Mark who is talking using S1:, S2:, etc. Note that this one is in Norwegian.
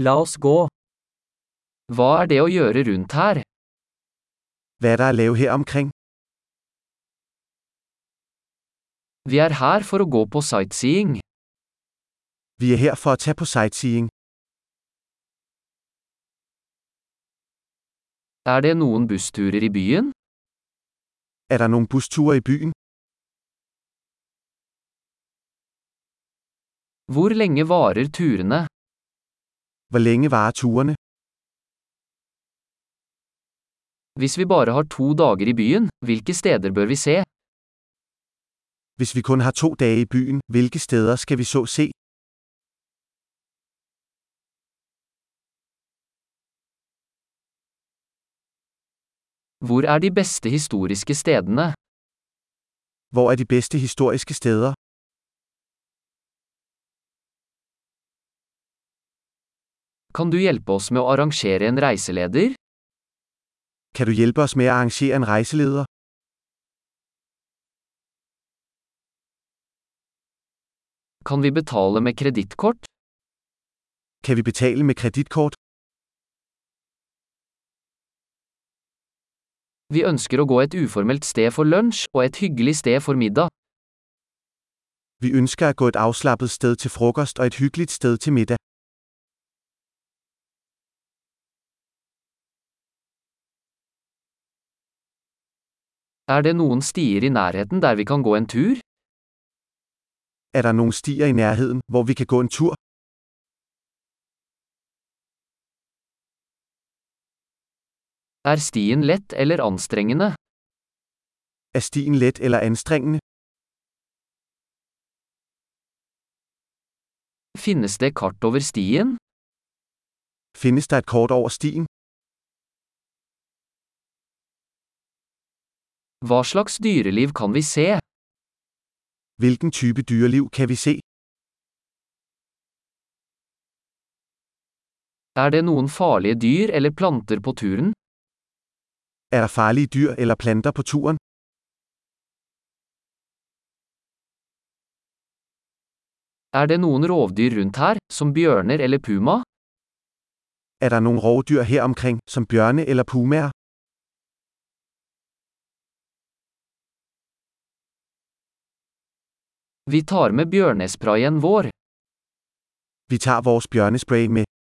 S1: La oss gå. Hva er det å gjøre rundt her?
S2: Hvad er der at lave her omkring?
S1: Vi er her for å gå på sightseeing.
S2: Vi er her for at tage på sightseeing.
S1: Er det noen bussturer i byen?
S2: Er der nogle busture i byen?
S1: Hvor lenge varer turene?
S2: Hvor længe varer turene?
S1: Hvis vi bare har to dager i byen, hvilke steder bør vi se?
S2: Hvis vi kun har to dage i byen, hvilke steder skal vi så se?
S1: Hvor er de beste historiske stedene?
S2: Hvor er de bedste historiske steder?
S1: Kan du hjelpe oss med å arrangere en reiseleder?
S2: Kan du hjælpe os med at arrangere en rejseleder?
S1: Kan vi betale med kredittkort?
S2: Kan vi betale med kreditkort?
S1: Vi ønsker å gå et uformelt sted for lunsj og et hyggelig sted for middag.
S2: Vi ønsker at gå et afslappet sted til frokost og et hyggeligt sted til middag.
S1: Er det noen stier i nærheten der vi kan gå en tur?
S2: Er der nogle stier i nærheden, hvor vi kan gå en tur?
S1: Er stien lett eller anstrengende?
S2: Er stien let eller anstrengende?
S1: Finnes det kart over stien?
S2: Findes der et kort over stien?
S1: Hva slags dyreliv kan vi se?
S2: Hvilken type dyreliv kan vi se?
S1: Er det noen farlige dyr eller planter på turen?
S2: Er der farlige dyr eller planter på turen?
S1: Er det noen rovdyr rundt her, som bjørner eller puma?
S2: Er der nogle rovdyr her omkring, som bjørne eller pumaer?
S1: Vi tar med bjørnesprayen vår.
S2: Vi tager vores bjørnespray med.